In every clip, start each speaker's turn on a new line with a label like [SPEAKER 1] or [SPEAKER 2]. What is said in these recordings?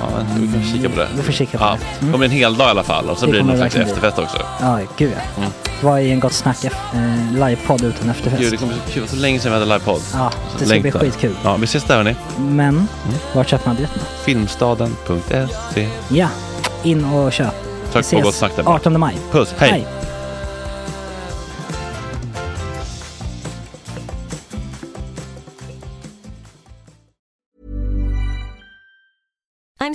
[SPEAKER 1] Ja, vi kan kika på det.
[SPEAKER 2] Mm. Vi får kika på
[SPEAKER 1] Ja,
[SPEAKER 2] det. Mm.
[SPEAKER 1] det kommer bli en hel dag i alla fall och så
[SPEAKER 2] Det
[SPEAKER 1] blir det
[SPEAKER 2] kommer
[SPEAKER 1] någon slags
[SPEAKER 2] verkligen bli.
[SPEAKER 1] efterfest också.
[SPEAKER 2] Ja, gud ja.
[SPEAKER 1] Mm.
[SPEAKER 2] Vad är en gott snack eh, livepodd utan efterfest?
[SPEAKER 1] Gud, det kommer bli så kul. Det var så länge sedan vi hade livepodd.
[SPEAKER 2] Ja, det ska
[SPEAKER 1] Längtar. Mm.
[SPEAKER 2] bli skitkul.
[SPEAKER 1] Ja, vi ses där hörni.
[SPEAKER 2] Men, vart köper man biljetterna?
[SPEAKER 1] Filmstaden.se.
[SPEAKER 2] Ja, in och köp. Vi
[SPEAKER 1] Tack på gott snack där bara.
[SPEAKER 2] 18 maj.
[SPEAKER 1] Puss, hej!
[SPEAKER 2] Hej.
[SPEAKER 3] I'm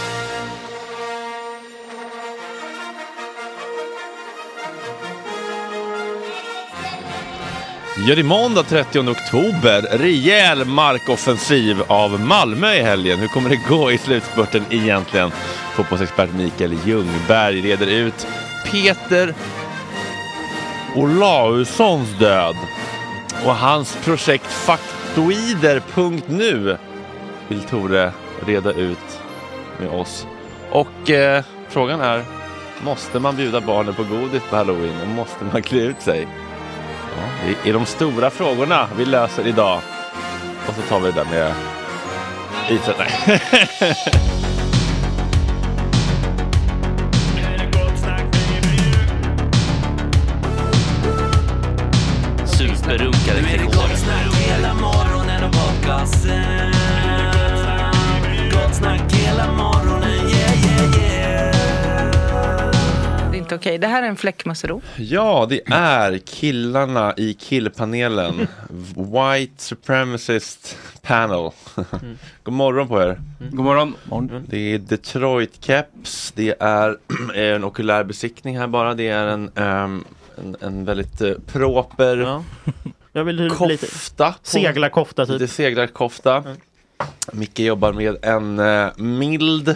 [SPEAKER 1] Ja, det är måndag 30 oktober. Rejäl markoffensiv av Malmö i helgen. Hur kommer det gå i slutspurten egentligen? Fotbollsexpert Mikael Ljungberg reder ut Peter Olaussons död och hans projekt Faktoider.nu vill Tore reda ut med oss. Och eh, frågan är, måste man bjuda barnen på godis på halloween och måste man klä ut sig? Ja, det är de stora frågorna vi löser idag. Och så tar vi det där med Israel. Nej.
[SPEAKER 4] förunkade Nu är det gott snack hela morgonen och podcasten Gott snack hela morgonen, yeah yeah yeah
[SPEAKER 5] Det är inte okej. Det här är en fläckmössero.
[SPEAKER 1] Ja, det är killarna i killpanelen. White Supremacist Panel. God morgon på er.
[SPEAKER 6] God morgon.
[SPEAKER 1] Det är Detroit Caps. Det är en okulär besiktning här bara. Det är en, ehm, en, en väldigt eh, proper
[SPEAKER 7] Jag vill hyra lite.
[SPEAKER 1] kofta. på-
[SPEAKER 7] Seglarkofta typ.
[SPEAKER 1] Lite seglarkofta. Micke jobbar med en eh, mild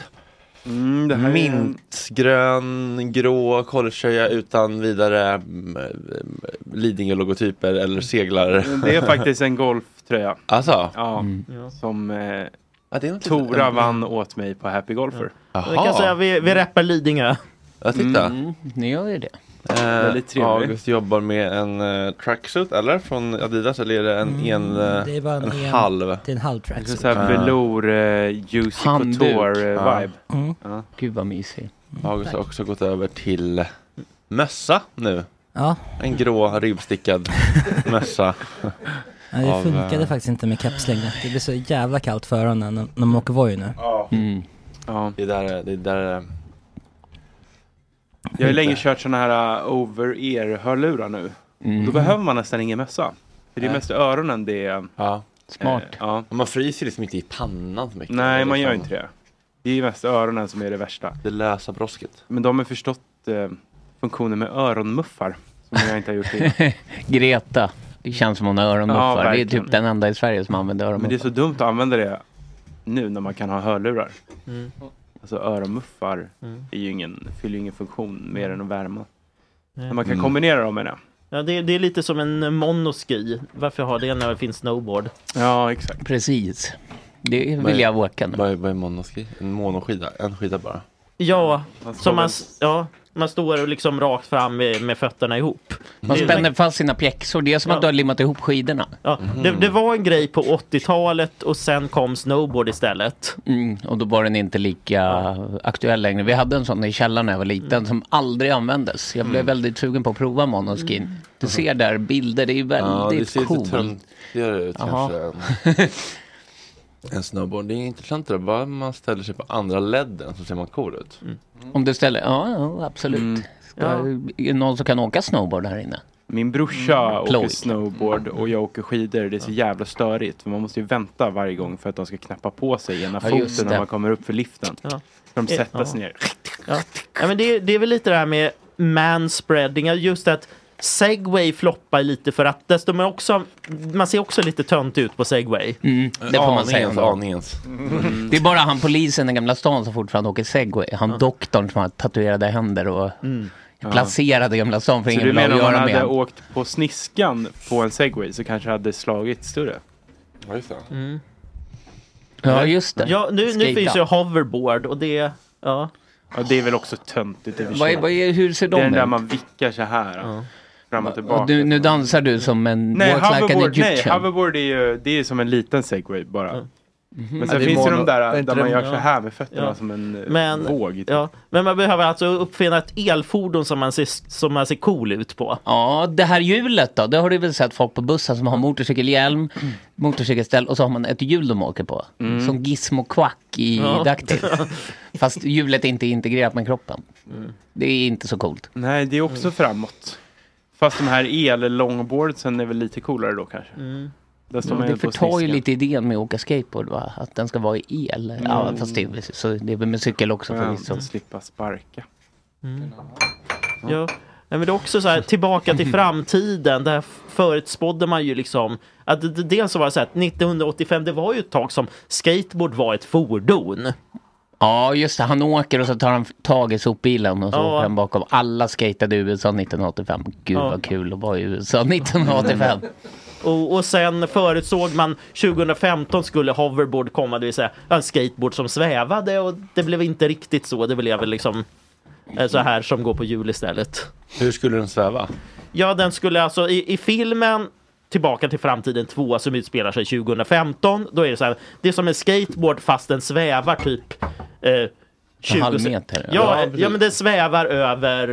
[SPEAKER 6] Mm, det här är en-
[SPEAKER 1] mintgrön, grå collegetröja utan vidare mm, Lidingö-logotyper eller seglar.
[SPEAKER 6] Mm, Det är faktiskt en golftröja.
[SPEAKER 1] Alltså,
[SPEAKER 6] Ja,
[SPEAKER 7] Mm.
[SPEAKER 6] som eh,
[SPEAKER 1] ja, det är något-
[SPEAKER 6] Tora vann åt mig på Happy Golfer. Mm.
[SPEAKER 7] Jag kan säga
[SPEAKER 1] Jaha,
[SPEAKER 7] vi, vi rappar Lidingö.
[SPEAKER 1] ja, titta.
[SPEAKER 8] Ni gör ju det.
[SPEAKER 1] Eh,
[SPEAKER 6] Väldigt trevlig.
[SPEAKER 1] August jobbar med en eh, tracksuit eller från Adidas eller är det en,
[SPEAKER 6] Mm.
[SPEAKER 7] Mm.
[SPEAKER 1] en, eh,
[SPEAKER 2] det är bara en
[SPEAKER 1] en
[SPEAKER 2] en-
[SPEAKER 1] halv?
[SPEAKER 2] Det är en halv
[SPEAKER 6] Det
[SPEAKER 2] track.
[SPEAKER 6] är så här velour, eh, juicy
[SPEAKER 8] Handduk.
[SPEAKER 6] couture eh, vibe.
[SPEAKER 8] Gud vad mysig.
[SPEAKER 1] August har också gått över till mössa nu.
[SPEAKER 2] Ja,
[SPEAKER 1] En grå ribbstickad mössa.
[SPEAKER 2] ja, det
[SPEAKER 1] Av,
[SPEAKER 2] funkade
[SPEAKER 1] eh,
[SPEAKER 2] faktiskt inte med keps längre. Det blir så jävla kallt för öronen när, när man åker Voi nu.
[SPEAKER 8] Mm.
[SPEAKER 6] Ja.
[SPEAKER 1] Det är där, det är där eh,
[SPEAKER 6] Jag har ju länge kört såna här eh, over-ear-hörlurar nu.
[SPEAKER 8] Mm.
[SPEAKER 6] Då behöver man nästan ingen mössa. För det är
[SPEAKER 1] Nej.
[SPEAKER 6] mest öronen det är... eh,
[SPEAKER 1] ja.
[SPEAKER 8] Smart.
[SPEAKER 6] ja.
[SPEAKER 1] Man fryser liksom inte i pannan så mycket.
[SPEAKER 6] Nej, man gör
[SPEAKER 1] Liksom
[SPEAKER 6] inte det. Det är mest öronen som är det värsta.
[SPEAKER 1] Det lösa brosket.
[SPEAKER 6] Men de har förstått eh, funktionen med öronmuffar. Som jag inte har gjort innan.
[SPEAKER 8] Greta. Det känns som hon har öronmuffar. det är
[SPEAKER 6] verkligen.
[SPEAKER 8] typ den enda i Sverige som använder
[SPEAKER 6] Men det är
[SPEAKER 8] öronmuffar.
[SPEAKER 6] så dumt att använda det nu när man kan ha hörlurar.
[SPEAKER 7] Mm.
[SPEAKER 6] Alltså öronmuffar är ju ingen, fyller ju ingen funktion mer än att värma.
[SPEAKER 7] Nej.
[SPEAKER 6] Men man kan
[SPEAKER 1] Mm.
[SPEAKER 6] kombinera dem med det.
[SPEAKER 7] Ja, det, det är lite som en monoski. Varför ha det när det finns snowboard?
[SPEAKER 6] Ja, exakt.
[SPEAKER 8] Precis. Det
[SPEAKER 1] Vad
[SPEAKER 8] vill
[SPEAKER 1] är-
[SPEAKER 8] jag åka nu.
[SPEAKER 1] Vad är, vad är monoski? En monoskida? En skida bara?
[SPEAKER 7] Ja,
[SPEAKER 6] Man står
[SPEAKER 7] som man,
[SPEAKER 6] väl-
[SPEAKER 7] s- ja, man står liksom rakt fram med, med fötterna ihop.
[SPEAKER 8] Man
[SPEAKER 7] Det är-
[SPEAKER 8] spänner fast sina pjäxor. Det är som
[SPEAKER 7] Ja.
[SPEAKER 8] att du har limmat ihop skidorna.
[SPEAKER 7] Ja, det, det var en grej på 80-talet och sen kom snowboard istället.
[SPEAKER 8] Mm, och då var den inte lika aktuell längre. Vi hade en sån i källaren när jag var
[SPEAKER 7] Mm.
[SPEAKER 8] liten som aldrig användes. Jag blev väldigt sugen på att prova monoskin.
[SPEAKER 7] Mm.
[SPEAKER 8] Du ser där bilder, det är ju
[SPEAKER 1] Ja, det
[SPEAKER 8] väldigt
[SPEAKER 1] ser
[SPEAKER 8] cool.
[SPEAKER 1] lite töntigare ut
[SPEAKER 8] Jaha.
[SPEAKER 1] kanske. En, en snowboard. Det är intressant det där. Bara man ställer sig på andra ledden så ser man cool ut.
[SPEAKER 8] Om du ställer, ja, ja absolut. Ska, Är det någon som kan åka snowboard här inne? Mm.
[SPEAKER 6] Min brorsa åker
[SPEAKER 8] Ploj.
[SPEAKER 6] snowboard och jag åker skidor. Det är så jävla störigt. För man måste ju vänta varje gång för att de ska knäppa på sig ena
[SPEAKER 8] Ja, just
[SPEAKER 6] foten när
[SPEAKER 8] det.
[SPEAKER 6] man kommer upp för liften.
[SPEAKER 7] Ja.
[SPEAKER 6] Så de
[SPEAKER 7] Eh,
[SPEAKER 6] sätter sig ner.
[SPEAKER 7] Ja. Ja, men det, det är väl lite det här med manspreading, just att segway floppar lite för att desto man, också, man ser också lite tönt ut på segway.
[SPEAKER 8] Det får man säga.
[SPEAKER 1] Aningens,
[SPEAKER 8] ändå.
[SPEAKER 1] aningens.
[SPEAKER 8] Det är bara han polisen i Gamla stan som fortfarande åker segway. Han doktorn som har tatuerade händer och
[SPEAKER 7] Mm.
[SPEAKER 8] placerade i Gamla stan för
[SPEAKER 6] Så
[SPEAKER 8] ingen
[SPEAKER 6] du
[SPEAKER 8] vill
[SPEAKER 6] menar om man
[SPEAKER 8] avgöra
[SPEAKER 6] hade
[SPEAKER 8] med honom.
[SPEAKER 6] åkt på sniskan på en segway så kanske det hade slagit större?
[SPEAKER 1] Ja, just det.
[SPEAKER 8] Ja, just det.
[SPEAKER 7] Ja, nu, nu
[SPEAKER 8] Skata.
[SPEAKER 7] finns ju hoverboard och det... Ja.
[SPEAKER 6] Ja, det är väl också töntigt i och för
[SPEAKER 8] Vad
[SPEAKER 6] sig.
[SPEAKER 8] är, vad är, hur ser
[SPEAKER 6] Det är den
[SPEAKER 8] de
[SPEAKER 6] där
[SPEAKER 8] ut?
[SPEAKER 6] man vickar så här. Fram och tillbaka.
[SPEAKER 8] Och du, nu dansar du som en
[SPEAKER 6] nej,
[SPEAKER 8] walk like an
[SPEAKER 6] hoverboard, nej,
[SPEAKER 8] Egyptian.
[SPEAKER 6] hoverboard är ju det är som en liten segway bara. Men sen
[SPEAKER 8] det är
[SPEAKER 6] finns
[SPEAKER 8] mono-
[SPEAKER 6] ju de där
[SPEAKER 8] inte
[SPEAKER 6] där man
[SPEAKER 8] det-
[SPEAKER 6] gör så här med fötterna
[SPEAKER 7] Ja.
[SPEAKER 6] som en eh,
[SPEAKER 7] Men-
[SPEAKER 6] våg. typ.
[SPEAKER 7] Ja, men man behöver alltså uppfinna ett elfordon som man ser, som man ser cool ut på.
[SPEAKER 8] Ja, det här hjulet då? Det har du väl sett folk på bussen som har motorcykelhjälm,
[SPEAKER 6] Mm.
[SPEAKER 8] motorcykelställ och så har man ett hjul de åker på. Som Gizmo Quack i
[SPEAKER 7] Ja.
[SPEAKER 8] Dactyl. Fast hjulet är inte integrerat med kroppen. Det är inte så coolt.
[SPEAKER 6] Mm.
[SPEAKER 8] Mm.
[SPEAKER 6] Nej, det är också framåt. Fast de här el-longboardsen är väl lite coolare då kanske. Där står man
[SPEAKER 8] det
[SPEAKER 6] ju på
[SPEAKER 8] förtar ju
[SPEAKER 6] sniskan.
[SPEAKER 8] lite idén med att åka skateboard va? Att den ska vara i el. Ja, fast det är, så det är väl med cykel också
[SPEAKER 6] Skönt
[SPEAKER 8] förvisso.
[SPEAKER 6] att slippa sparka.
[SPEAKER 7] Ja. Nej, men det är också så här, tillbaka till framtiden. Där förutspådde man ju liksom att d- d- dels så var det så här att 1985, det var ju ett tag som skateboard var ett fordon.
[SPEAKER 8] Ja, just det. Han åker och så tar han tag i sopbilen och så
[SPEAKER 7] Ja.
[SPEAKER 8] åker han bakom. Alla skatade i USA 1985. Gud
[SPEAKER 7] Ja.
[SPEAKER 8] vad kul att vara i USA 1985.
[SPEAKER 7] Och, och sen förutsåg man 2015 skulle hoverboard komma, det vill säga en skateboard som svävade och det blev inte riktigt så. Det blev väl liksom eh, så här som går på hjul istället.
[SPEAKER 1] Hur skulle den sväva?
[SPEAKER 7] Ja, den skulle alltså i, i filmen Tillbaka till framtiden 2 som utspelar sig 2015. Då är det så här. Det är som en skateboard fast den svävar typ eh,
[SPEAKER 8] En halv
[SPEAKER 7] 20
[SPEAKER 8] meter.
[SPEAKER 7] Ja,
[SPEAKER 8] Ja,
[SPEAKER 7] ja, men det svävar över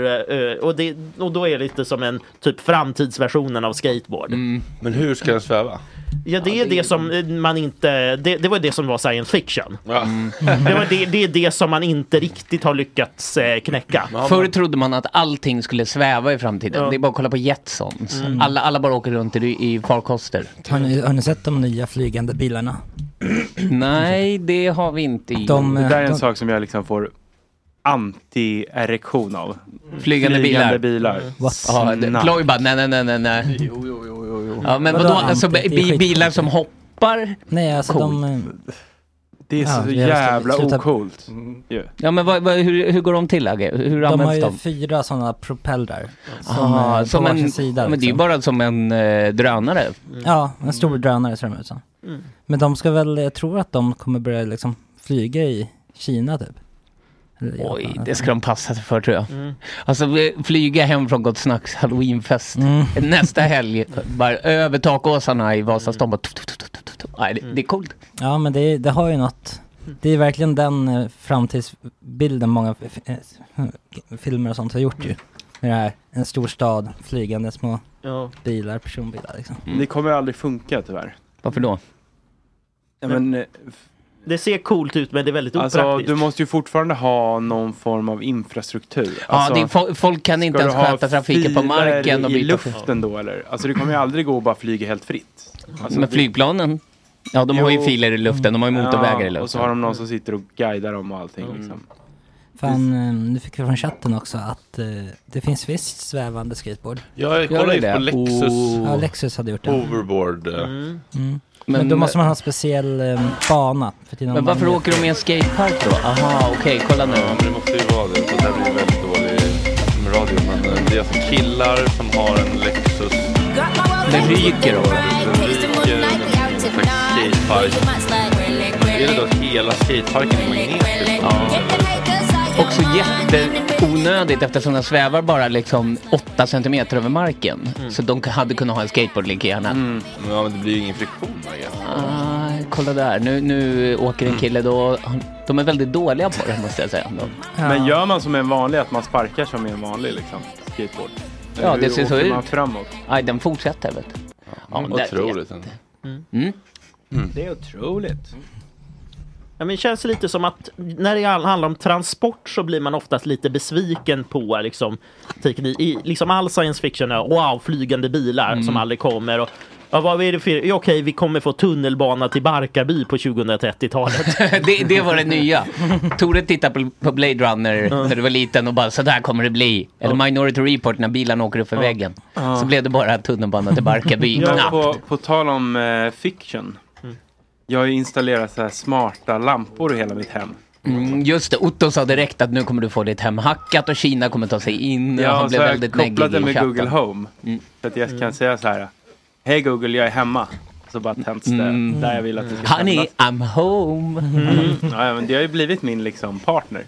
[SPEAKER 7] eh, och, det, och då är det lite som en typ framtidsversionen av skateboard.
[SPEAKER 1] Mm. Men hur ska den sväva?
[SPEAKER 7] Ja, det är det som eh, man inte... Det, det var det som var science fiction.
[SPEAKER 1] Mm.
[SPEAKER 6] Mm.
[SPEAKER 7] Det, var det, det är det som man inte riktigt har lyckats eh, knäcka.
[SPEAKER 8] Förr trodde man att allting skulle sväva i framtiden.
[SPEAKER 7] Ja.
[SPEAKER 8] Det är bara att kolla på Jetsons.
[SPEAKER 2] Mm.
[SPEAKER 8] Alla, alla bara åker runt i, i farkoster.
[SPEAKER 2] Har ni, har ni sett de nya flygande bilarna?
[SPEAKER 1] Mm.
[SPEAKER 8] Nej, det har vi inte gjort.
[SPEAKER 2] De,
[SPEAKER 6] det där är en
[SPEAKER 2] de-
[SPEAKER 6] sak som jag liksom får anti-erektion av.
[SPEAKER 8] Flygande bilar.
[SPEAKER 6] Flygande bilar.
[SPEAKER 1] Mm.
[SPEAKER 8] Ja, det-
[SPEAKER 6] Snabbt.
[SPEAKER 8] Ploy bara, nej, nej, nej, nej, nej. Ja, men
[SPEAKER 2] Vadå
[SPEAKER 8] vadå, alltså
[SPEAKER 2] anti?
[SPEAKER 8] bi-
[SPEAKER 2] Det är skit.
[SPEAKER 8] bilar som hoppar?
[SPEAKER 2] Nej, alltså de... eh,
[SPEAKER 6] Det är så
[SPEAKER 2] Ja, vi har
[SPEAKER 6] jävla
[SPEAKER 2] slutat-
[SPEAKER 6] ocoolt. ju.
[SPEAKER 8] Ja, men vad, vad, hur, hur går de till, Agge? Hur
[SPEAKER 2] De har
[SPEAKER 8] används
[SPEAKER 2] ju
[SPEAKER 8] de?
[SPEAKER 2] fyra sådana propellrar. Som,
[SPEAKER 8] Aha,
[SPEAKER 2] eh, på varsin
[SPEAKER 8] en,
[SPEAKER 2] sida.
[SPEAKER 8] ja, men det är ju
[SPEAKER 2] liksom.
[SPEAKER 8] bara som en eh, drönare.
[SPEAKER 2] Ja, en stor drönare ser de ut som.
[SPEAKER 8] Mm.
[SPEAKER 2] Men de ska väl, jag tror att de kommer börja liksom flyga i Kina typ. Eller i
[SPEAKER 8] Oj,
[SPEAKER 2] Japan,
[SPEAKER 8] det ska
[SPEAKER 2] alltså.
[SPEAKER 8] de passa sig för tror jag. Alltså vi- flyga hem från Gott Snacks halloweenfest
[SPEAKER 2] Mm.
[SPEAKER 8] nästa helg. Bara över takåsarna i Vasastan. bara tuff, tuff, tuff, tuff, tuff, tuff. Nej, det, det är coolt.
[SPEAKER 2] Ja, men det, det har ju något.
[SPEAKER 8] Mm.
[SPEAKER 2] Det är verkligen den eh, framtidsbilden många f- f- eh, filmer och sånt har gjort
[SPEAKER 8] Mm.
[SPEAKER 2] ju. Med det här, en stor stad, flygande små
[SPEAKER 7] Ja.
[SPEAKER 2] bilar, personbilar liksom.
[SPEAKER 8] Mm.
[SPEAKER 6] Det kommer aldrig funka tyvärr.
[SPEAKER 8] Varför då?
[SPEAKER 6] Ja, men, eh,
[SPEAKER 7] Det ser coolt ut men det är väldigt
[SPEAKER 6] alltså,
[SPEAKER 7] opraktiskt.
[SPEAKER 6] du måste ju fortfarande ha någon form av infrastruktur.
[SPEAKER 8] Ja,
[SPEAKER 6] Alltså,
[SPEAKER 8] det är, fo- folk kan inte
[SPEAKER 6] ska
[SPEAKER 8] ens
[SPEAKER 6] du ha
[SPEAKER 8] sköta trafiken på
[SPEAKER 6] filer
[SPEAKER 8] marken. Och
[SPEAKER 6] i
[SPEAKER 8] byta
[SPEAKER 6] luften då eller? Alltså det kommer ju aldrig gå att bara flyga helt fritt. Alltså,
[SPEAKER 8] Men
[SPEAKER 6] det- Mm.
[SPEAKER 8] flygplanen? Ja, de har ju filer i luften. De har ju motorvägar i luften. Mm.
[SPEAKER 6] Och så har de någon som sitter och guidar dem och allting. Liksom.
[SPEAKER 2] Fan, eh, nu fick vi från chatten också att eh, det finns visst svävande skateboard.
[SPEAKER 1] Ja, jag kollade just på Lexus.
[SPEAKER 2] Ja, Lexus hade gjort det.
[SPEAKER 1] Hoverboard. eh.
[SPEAKER 2] Mm. Men,
[SPEAKER 8] Oh. Men- eh,
[SPEAKER 2] då måste man ha en speciell eh, bana. För till någon
[SPEAKER 8] Men varför
[SPEAKER 2] man-
[SPEAKER 8] åker de i en skatepark då? Aha, okej, kolla nu.
[SPEAKER 1] Ja, men det måste ju vara det. Så det här blir väldigt dålig som radio. Men eh, det är alltså killar som har en Lexus.
[SPEAKER 8] Den ryker då.
[SPEAKER 1] Den ryker. Den är på en skatepark. Är det då att hela skateparken är magnetisk?
[SPEAKER 8] Också jätteonödigt eftersom den svävar bara liksom 8 centimeter över marken. Så de hade kunnat ha en skateboard lika gärna.
[SPEAKER 1] Men, Ja, men det blir ju ingen friktion. I guess.
[SPEAKER 8] Ah, kolla där, nu, nu åker en kille då. De är väldigt dåliga på det måste jag säga. ändå.
[SPEAKER 6] Men gör man som en vanlig, att man sparkar som i en vanlig liksom, skateboard? Eller
[SPEAKER 8] Ja,
[SPEAKER 6] hur
[SPEAKER 8] det ser så
[SPEAKER 6] åker
[SPEAKER 8] ut.
[SPEAKER 6] man framåt?
[SPEAKER 8] Aj, den fortsätter vet du. Ja, men det-
[SPEAKER 1] Otroligt. ändå.
[SPEAKER 8] Mm.
[SPEAKER 6] Det är otroligt.
[SPEAKER 7] Ja, men det känns lite som att när det all- handlar om transport så blir man oftast lite besviken på liksom, teknik. I, liksom all science fiction är wow, flygande bilar som aldrig kommer. Och, ja, vad är det för? Ja, okej, vi kommer få tunnelbana till Barkarby på 2030-talet.
[SPEAKER 8] det, det var det nya. Tore tittade på, på Blade Runner när du var liten och bara så där kommer det bli. Eller Minority Report när bilarna åker upp för väggen. Så blev det bara tunnelbana till Barkarby.
[SPEAKER 6] Ja,
[SPEAKER 8] Knappt.
[SPEAKER 6] på, på tal om eh, fiction.
[SPEAKER 8] Mm.
[SPEAKER 6] Jag har ju installerat så här smarta lampor i hela mitt hem.
[SPEAKER 8] Mm, just det, Otto sa direkt att nu kommer du få ditt hem hackat och Kina kommer ta sig in. och Mm, han
[SPEAKER 6] så
[SPEAKER 8] blev
[SPEAKER 6] har jag
[SPEAKER 8] väldigt
[SPEAKER 6] kopplat
[SPEAKER 8] neggig
[SPEAKER 6] den
[SPEAKER 8] i
[SPEAKER 6] med
[SPEAKER 8] chatten. Mm.
[SPEAKER 6] Google Home. Så att jag kan säga så här. Hej Google, jag är hemma. Så bara tänds det
[SPEAKER 8] Mm.
[SPEAKER 6] där jag vill att det ska
[SPEAKER 8] Honey,
[SPEAKER 6] tändas.
[SPEAKER 8] I'm home.
[SPEAKER 6] Mm. Ja, ja, men det har ju blivit min liksom partner.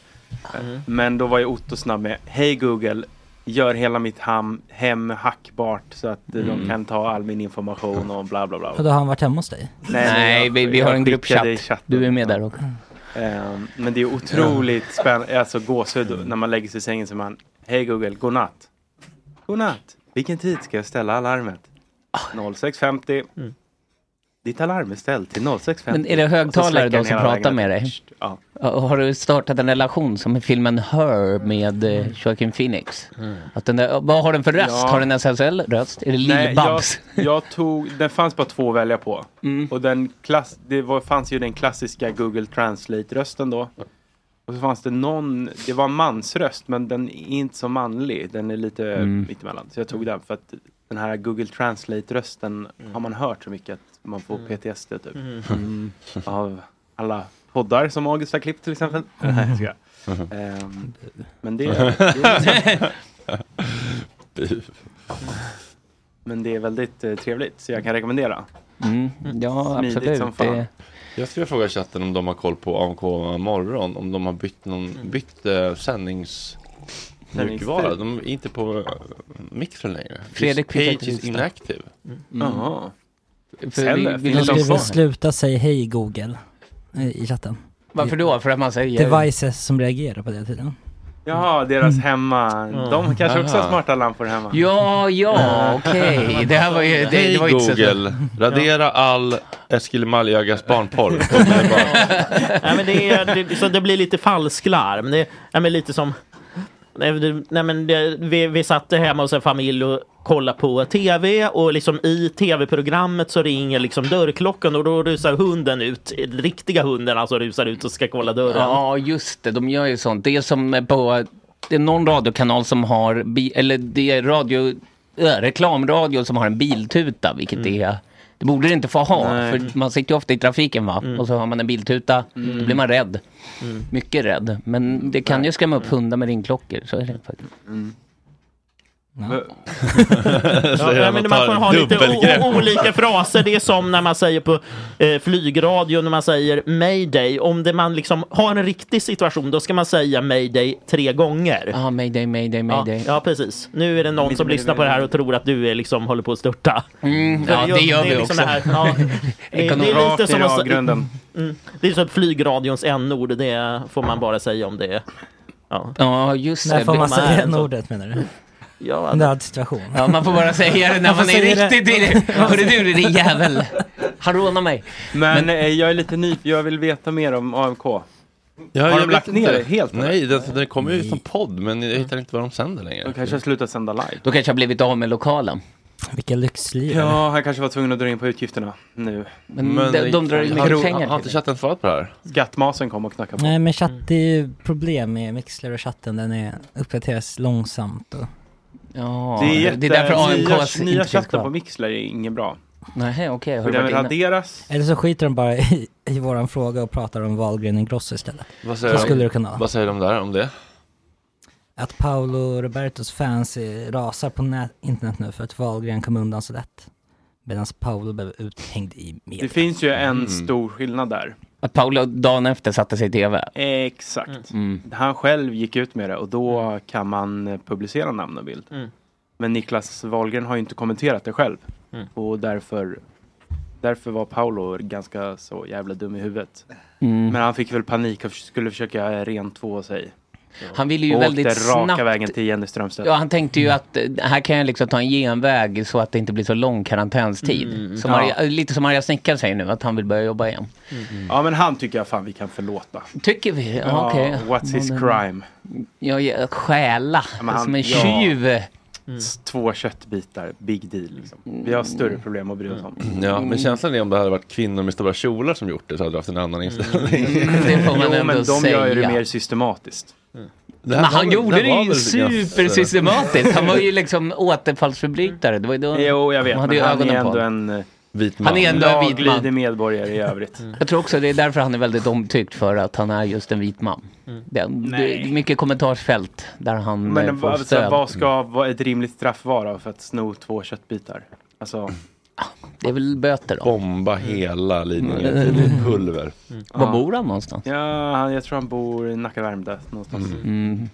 [SPEAKER 6] Men då var ju Otto snabb med, hej Google, gör hela mitt ham, hem hackbart så att eh, de kan ta all min information och bla bla bla.
[SPEAKER 2] Ja, då har han varit hemma hos dig.
[SPEAKER 8] Nej, vi, vi har en
[SPEAKER 6] skickade i
[SPEAKER 8] gruppchatt.
[SPEAKER 6] chatten.
[SPEAKER 8] Du är med där också.
[SPEAKER 6] Ehm, men det är otroligt spännande, alltså gåshud när man lägger sig i sängen så man, hej Google, godnatt. Godnatt, vilken tid ska jag ställa alarmet? 06.50. Ditt alarm är ställt till 06.50.
[SPEAKER 8] Men är det
[SPEAKER 6] Och så
[SPEAKER 8] högtalare
[SPEAKER 6] släcker
[SPEAKER 8] då
[SPEAKER 6] den
[SPEAKER 8] som
[SPEAKER 6] hela
[SPEAKER 8] pratar
[SPEAKER 6] vägen.
[SPEAKER 8] med dig?
[SPEAKER 6] Ja.
[SPEAKER 8] Och Har du startat en relation som i filmen Her med eh, Joaquin Phoenix? Att den där, vad har den för röst?
[SPEAKER 6] Mm. Ja.
[SPEAKER 8] Har den SSL-röst? Är det
[SPEAKER 6] Nej, jag,
[SPEAKER 8] Lill-Babs? Mm.
[SPEAKER 6] jag tog, den fanns bara två att välja på. Och den klass, det var, fanns ju den klassiska Google Translate-rösten då. Och så fanns det någon, det var en mansröst men den är inte så manlig. Den är lite
[SPEAKER 8] Mm.
[SPEAKER 6] mittemellan. Så jag tog den för att den här Google Translate-rösten
[SPEAKER 8] Mm.
[SPEAKER 6] har man hört så mycket att man får PTSD typ. Av alla poddar som August har klippt till exempel. Nej, jag skojar. Ehm, men det, det är Men det är väldigt eh, trevligt, så jag kan rekommendera.
[SPEAKER 8] Mm. Ja,
[SPEAKER 6] Smidigt
[SPEAKER 8] absolut.
[SPEAKER 6] som fan.
[SPEAKER 8] Det-
[SPEAKER 1] Jag skulle fråga chatten om de har koll på AMK morgon. Om de har bytt, någon, bytt uh, sändnings... Mjukvara. De är inte på eh, mixen längre.
[SPEAKER 8] Fredrik
[SPEAKER 1] This
[SPEAKER 8] skickade
[SPEAKER 1] page
[SPEAKER 8] till
[SPEAKER 1] is
[SPEAKER 8] listan.
[SPEAKER 1] inactive.
[SPEAKER 6] Jaha.
[SPEAKER 8] För vi,
[SPEAKER 6] Eller,
[SPEAKER 8] vi,
[SPEAKER 6] finns
[SPEAKER 2] De
[SPEAKER 6] det
[SPEAKER 8] vi,
[SPEAKER 2] skriver
[SPEAKER 6] någon svar?
[SPEAKER 2] sluta säga hej Google eh, i chatten.
[SPEAKER 8] Varför då? För att man säger...
[SPEAKER 2] Devices som reagerar på det tiden.
[SPEAKER 6] Jaha, deras hemma. De kanske också har
[SPEAKER 2] Aha.
[SPEAKER 6] smarta lampor hemma.
[SPEAKER 8] Ja, ja, okej. Det här var ju... Det,
[SPEAKER 1] Hej
[SPEAKER 8] det var inte så-
[SPEAKER 1] Google, radera all Eskil Maljögas barnporr.
[SPEAKER 7] Nej, men det, är, det, så det blir lite falsklarm. Det, nej, men lite som... Nej, det- nej, men det, vi, vi satt hemma hos en familj och kollade på tv och liksom i tv-programmet så ringer liksom dörrklockan och då rusar hunden ut. Den riktiga hunden alltså rusar ut och ska kolla dörren.
[SPEAKER 8] Ja, just det. De gör ju sånt. Det är som på... Det är någon radiokanal som har... Bi, eller det är radio, äh, reklamradio som har en biltuta, vilket
[SPEAKER 6] Mm.
[SPEAKER 8] är... Det borde det inte få ha,
[SPEAKER 7] Nej.
[SPEAKER 8] för man sitter ju ofta i trafiken va?
[SPEAKER 6] Mm.
[SPEAKER 8] Och så har man en biltuta, då blir man rädd.
[SPEAKER 7] Mm.
[SPEAKER 8] Mycket rädd. Men det kan ju skrämma
[SPEAKER 6] Mm.
[SPEAKER 8] upp hundar med ringklockor, så är det faktiskt.
[SPEAKER 7] Ja, nej, men man får ha lite o- o- olika fraser. Det är som när man säger på eh, flygradio när man säger mayday. Om det man liksom har en riktig situation då ska man säga mayday tre gånger.
[SPEAKER 8] Ja, mayday, mayday,
[SPEAKER 7] mayday. Ja, precis. Nu är det någon som lyssnar på det här och tror att du är liksom håller på att störta.
[SPEAKER 8] Mm,
[SPEAKER 7] För
[SPEAKER 8] ja, det gör
[SPEAKER 7] är
[SPEAKER 8] vi
[SPEAKER 7] liksom
[SPEAKER 8] också.
[SPEAKER 7] Det, här, ja, det, är- det är
[SPEAKER 6] Rakt i
[SPEAKER 7] lite som att,
[SPEAKER 6] avgrunden.
[SPEAKER 7] Mm, det är som flygradions n-ord. Det får man bara säga om det. Ja, alltså.
[SPEAKER 8] ja just
[SPEAKER 2] När får man säga det ordet menar du?
[SPEAKER 7] Ja, alltså,
[SPEAKER 2] Under all situation.
[SPEAKER 8] Ja, man får bara säga det när man,
[SPEAKER 2] får
[SPEAKER 8] är
[SPEAKER 2] säga
[SPEAKER 8] riktigt i det. Hörru du, din jävel. Han rånar mig.
[SPEAKER 6] Men, eh, jag är lite nyfiken, jag vill veta mer om AMK. har de lagt ner det helt?
[SPEAKER 1] Nej, det, alltså, det kommer ju som podd, men jag hittar inte vad de sänder längre.
[SPEAKER 6] De kanske har slutat sända live.
[SPEAKER 8] Då kanske jag blivit av med lokalen.
[SPEAKER 2] Vilka lyxliv.
[SPEAKER 6] Ja, han kanske var tvungen att dra in på utgifterna nu.
[SPEAKER 2] Men Men de- de drar ju mycket pengar
[SPEAKER 6] Har, har
[SPEAKER 2] till
[SPEAKER 6] inte
[SPEAKER 1] chatten svarat på det här?
[SPEAKER 6] Skattmasen kom och knackade på.
[SPEAKER 2] Nej men chatt, det är ju problem med Mixler och chatten, den är, uppdateras långsamt och...
[SPEAKER 8] Ja,
[SPEAKER 6] nya, nya chatten på Mixler är inget bra.
[SPEAKER 8] Nej, okej.
[SPEAKER 6] Vill den raderas?
[SPEAKER 2] Eller så skiter de bara i, i våran fråga och pratar om Wahlgren och Gross istället.
[SPEAKER 1] Vad
[SPEAKER 2] Så
[SPEAKER 1] säger, de-
[SPEAKER 2] skulle det kunna vara.
[SPEAKER 1] vad säger de där om det?
[SPEAKER 2] Att Paolo Robertos fans är- rasar på nät, internet nu för att Wahlgren kom undan så lätt. Medan Paolo blev uthängd i media.
[SPEAKER 6] Det finns ju en stor skillnad där.
[SPEAKER 8] Att Paolo dagen efter satte sig i tv. Mm.
[SPEAKER 6] Exakt. Han själv gick ut med det och då kan man eh, publicera namn och bild.
[SPEAKER 7] Mm.
[SPEAKER 6] Men Niklas Wahlgren har ju inte kommenterat det själv.
[SPEAKER 7] Mm.
[SPEAKER 6] Och därför, därför var Paolo ganska så jävla dum i huvudet.
[SPEAKER 8] Mm.
[SPEAKER 6] Men han fick väl panik och skulle försöka rentvå sig.
[SPEAKER 8] Han ville ju
[SPEAKER 6] och
[SPEAKER 8] väldigt
[SPEAKER 6] åkte raka
[SPEAKER 8] snabbt-
[SPEAKER 6] vägen till Jenny Strömstedt.
[SPEAKER 8] Ja, han tänkte ju att eh, här kan jag liksom ta en genväg så att det inte blir så lång karantänstid.
[SPEAKER 6] Mm.
[SPEAKER 8] Som
[SPEAKER 6] Ja.
[SPEAKER 8] Maria, eh, lite som Maria Snickare säger nu, att han vill börja jobba igen.
[SPEAKER 6] Ja, men han tycker jag fan vi kan förlåta.
[SPEAKER 8] Tycker vi? Ja,
[SPEAKER 6] Ja,
[SPEAKER 8] okej.
[SPEAKER 6] What's his
[SPEAKER 8] Men, eh,
[SPEAKER 6] crime?
[SPEAKER 8] Jag ger- stjäla,
[SPEAKER 6] Ja, men han-
[SPEAKER 8] som en
[SPEAKER 6] ja.
[SPEAKER 8] tjuv.
[SPEAKER 6] S- Två köttbitar, big deal. Liksom.
[SPEAKER 8] Mm.
[SPEAKER 6] Vi har större problem att bry oss om.
[SPEAKER 1] Ja, men känslan är om det hade varit kvinnor med stora kjolar som gjort det så hade du haft en annan inställning.
[SPEAKER 6] jo, men de gör ju det mer systematiskt.
[SPEAKER 1] Det
[SPEAKER 8] Men
[SPEAKER 1] här var
[SPEAKER 8] han
[SPEAKER 1] väl-
[SPEAKER 8] gjorde
[SPEAKER 1] det
[SPEAKER 8] det
[SPEAKER 1] var
[SPEAKER 8] ju
[SPEAKER 1] väl
[SPEAKER 8] supersystematiskt.
[SPEAKER 1] ganska-
[SPEAKER 8] Han var ju liksom återfallsförbrytare. Det var ju då
[SPEAKER 6] Jo, jag vet,
[SPEAKER 8] man hade
[SPEAKER 6] men
[SPEAKER 8] ju
[SPEAKER 6] han är
[SPEAKER 8] ögonen på
[SPEAKER 6] ändå
[SPEAKER 8] honom.
[SPEAKER 6] en
[SPEAKER 1] vit
[SPEAKER 8] man. Han är ändå en vit man.
[SPEAKER 6] laglydig medborgare i övrigt.
[SPEAKER 8] Jag tror också det är därför han är väldigt omtyckt för att han är just en vit man. Det, det är mycket kommentarsfält där han eh,
[SPEAKER 6] Mm. Men
[SPEAKER 8] får
[SPEAKER 6] vad- så,
[SPEAKER 8] stöd.
[SPEAKER 6] vad ska vad ett rimligt straff vara för att sno två köttbitar? Alltså,
[SPEAKER 8] Det är väl böter då?
[SPEAKER 1] Bomba hela Lidingö i pulver.
[SPEAKER 8] Var bor han någonstans?
[SPEAKER 6] ja, han, jag tror han bor i Nacka Värmdö någonstans.
[SPEAKER 8] Mm.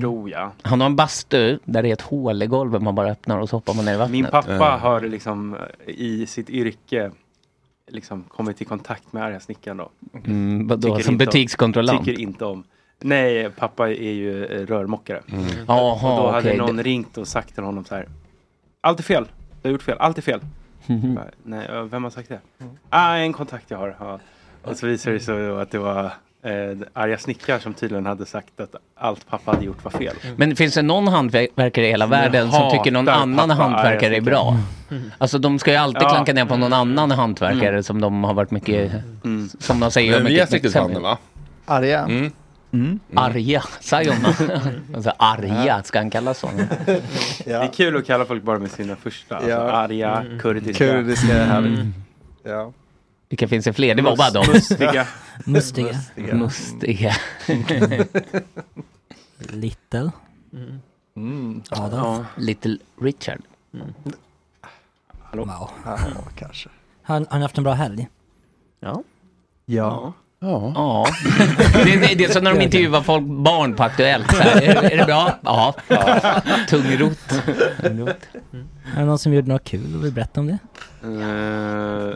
[SPEAKER 6] Tror jag.
[SPEAKER 8] Han har en bastu där det är ett hål i golvet man bara öppnar och så hoppar man ner i vattnet.
[SPEAKER 6] Min pappa har liksom i sitt yrke liksom kommit i kontakt med arga snickaren då.
[SPEAKER 8] Mm, vadå,
[SPEAKER 6] Tycker
[SPEAKER 8] som
[SPEAKER 6] inte om-
[SPEAKER 8] butikskontrollant?
[SPEAKER 6] Tycker inte om. Nej, pappa är ju eh, rörmokare.
[SPEAKER 8] Jaha,
[SPEAKER 6] och då hade
[SPEAKER 8] okej.
[SPEAKER 6] någon
[SPEAKER 8] Det-
[SPEAKER 6] ringt och sagt till honom så här. Allt är fel. Du har gjort fel. Allt är fel.
[SPEAKER 8] Mhm.
[SPEAKER 6] Bara, Nej, eh, vem har sagt det? Ah, en kontakt jag har. Ja. Och så visade det sig då att det var eh, arga snickaren som tydligen hade sagt att allt pappa hade gjort var fel.
[SPEAKER 8] Men finns det någon hantverkare i hela
[SPEAKER 6] Jag
[SPEAKER 8] världen som tycker någon
[SPEAKER 6] hatar
[SPEAKER 8] annan
[SPEAKER 6] pappa,
[SPEAKER 8] hantverkare är
[SPEAKER 6] jag
[SPEAKER 8] bra?
[SPEAKER 6] Mm.
[SPEAKER 8] Alltså de ska ju alltid
[SPEAKER 6] Ja. Mm.
[SPEAKER 8] klanka ner på någon annan hantverkare som de har varit mycket, Mm. som de säger,
[SPEAKER 1] Men vi är
[SPEAKER 8] mycket
[SPEAKER 1] riktigt
[SPEAKER 8] sämre.
[SPEAKER 1] vana, va?
[SPEAKER 9] Arga.
[SPEAKER 1] Mm.
[SPEAKER 8] Arga, sa Jonna. alltså, arga, ska han kallas så?
[SPEAKER 6] Det är kul att kalla folk bara med sina första. Alltså,
[SPEAKER 9] Ja.
[SPEAKER 6] arga,
[SPEAKER 9] Mm.
[SPEAKER 6] kurdiska.
[SPEAKER 9] Kurdiska är härligt.
[SPEAKER 8] Mm.
[SPEAKER 9] Ja.
[SPEAKER 8] Vilka finns det fler? Det var bara
[SPEAKER 6] Must-
[SPEAKER 8] de.
[SPEAKER 6] mustiga.
[SPEAKER 2] Mustiga.
[SPEAKER 9] Mustiga.
[SPEAKER 8] Mustiga.
[SPEAKER 2] Little.
[SPEAKER 9] Mm.
[SPEAKER 2] Adolf.
[SPEAKER 8] Little Richard.
[SPEAKER 6] Hallå?
[SPEAKER 2] Wow.
[SPEAKER 9] Ja, kanske.
[SPEAKER 2] Har, har ni haft en bra helg?
[SPEAKER 7] Ja.
[SPEAKER 9] Ja.
[SPEAKER 1] Ja.
[SPEAKER 8] Ja. Det, det, det är som när de intervjuar folk, barn på Aktuellt. Så här, är, är det bra? Ja. Tungrot.
[SPEAKER 2] Är det någon som gjorde något kul och vill berätta om det?
[SPEAKER 6] Eh,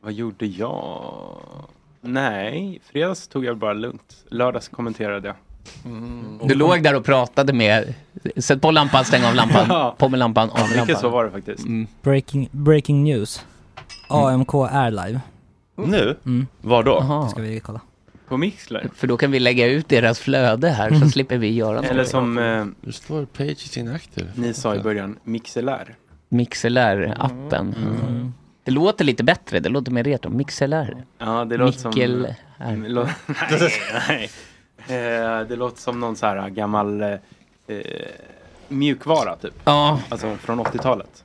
[SPEAKER 6] vad gjorde jag? Nej, i fredags tog jag bara lugnt. Lördags kommenterade jag.
[SPEAKER 8] Du låg där och pratade med... Sätt på lampan, stäng av lampan. På med lampan, av med
[SPEAKER 6] Mycket så
[SPEAKER 8] lampan.
[SPEAKER 6] var det faktiskt.
[SPEAKER 2] Breaking, breaking news.
[SPEAKER 6] Mm.
[SPEAKER 2] AMK är live.
[SPEAKER 1] Nu?
[SPEAKER 2] Mm.
[SPEAKER 1] Var då?
[SPEAKER 6] Ah.
[SPEAKER 2] Det ska vi kolla.
[SPEAKER 6] På Mixler?
[SPEAKER 8] För då kan vi lägga ut deras flöde här
[SPEAKER 1] Mm.
[SPEAKER 8] så slipper vi göra något.
[SPEAKER 6] Eller som... Eh,
[SPEAKER 1] nu står page is inactive.
[SPEAKER 6] Ni sa i början, Mixelär.
[SPEAKER 8] Mixelr-appen. Det låter lite bättre, det låter mer retro. Mixelr.
[SPEAKER 6] Ja, det låter
[SPEAKER 8] Mikkel
[SPEAKER 6] som... Lå... nej, nej. Eh, det låter som någon så här gammal eh, eh, mjukvara typ.
[SPEAKER 8] Ja.
[SPEAKER 6] Alltså från 80-talet.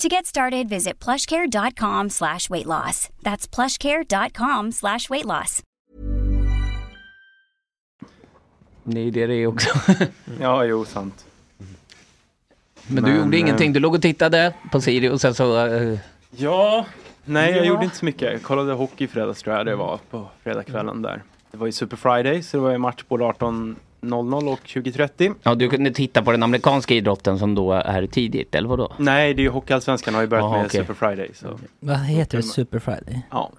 [SPEAKER 10] To get started, visit plushcare.com slash weight loss. That's plushcare.com slash weight loss.
[SPEAKER 8] Det är det det är också.
[SPEAKER 6] Ja, jo, sant.
[SPEAKER 8] Men du
[SPEAKER 6] Men,
[SPEAKER 8] gjorde
[SPEAKER 6] eh,
[SPEAKER 8] ingenting, du låg och tittade på Siri och sen så... eh,
[SPEAKER 6] Ja, nej jag
[SPEAKER 8] Ja.
[SPEAKER 6] gjorde inte så mycket. Jag kollade hockey i fredags tror jag det var på fredagskvällen där. Det var ju Super Friday så det var ju match både 18.00 och 20.30.
[SPEAKER 8] Ja, du kunde titta på den amerikanska idrotten som då är tidigt, eller vadå?
[SPEAKER 6] Nej, det är ju Hockeyallsvenskan har ju börjat
[SPEAKER 8] Jaha,
[SPEAKER 6] med
[SPEAKER 8] okej.
[SPEAKER 6] Super Friday. Så.
[SPEAKER 2] Vad heter det? Super Friday?
[SPEAKER 6] Ja.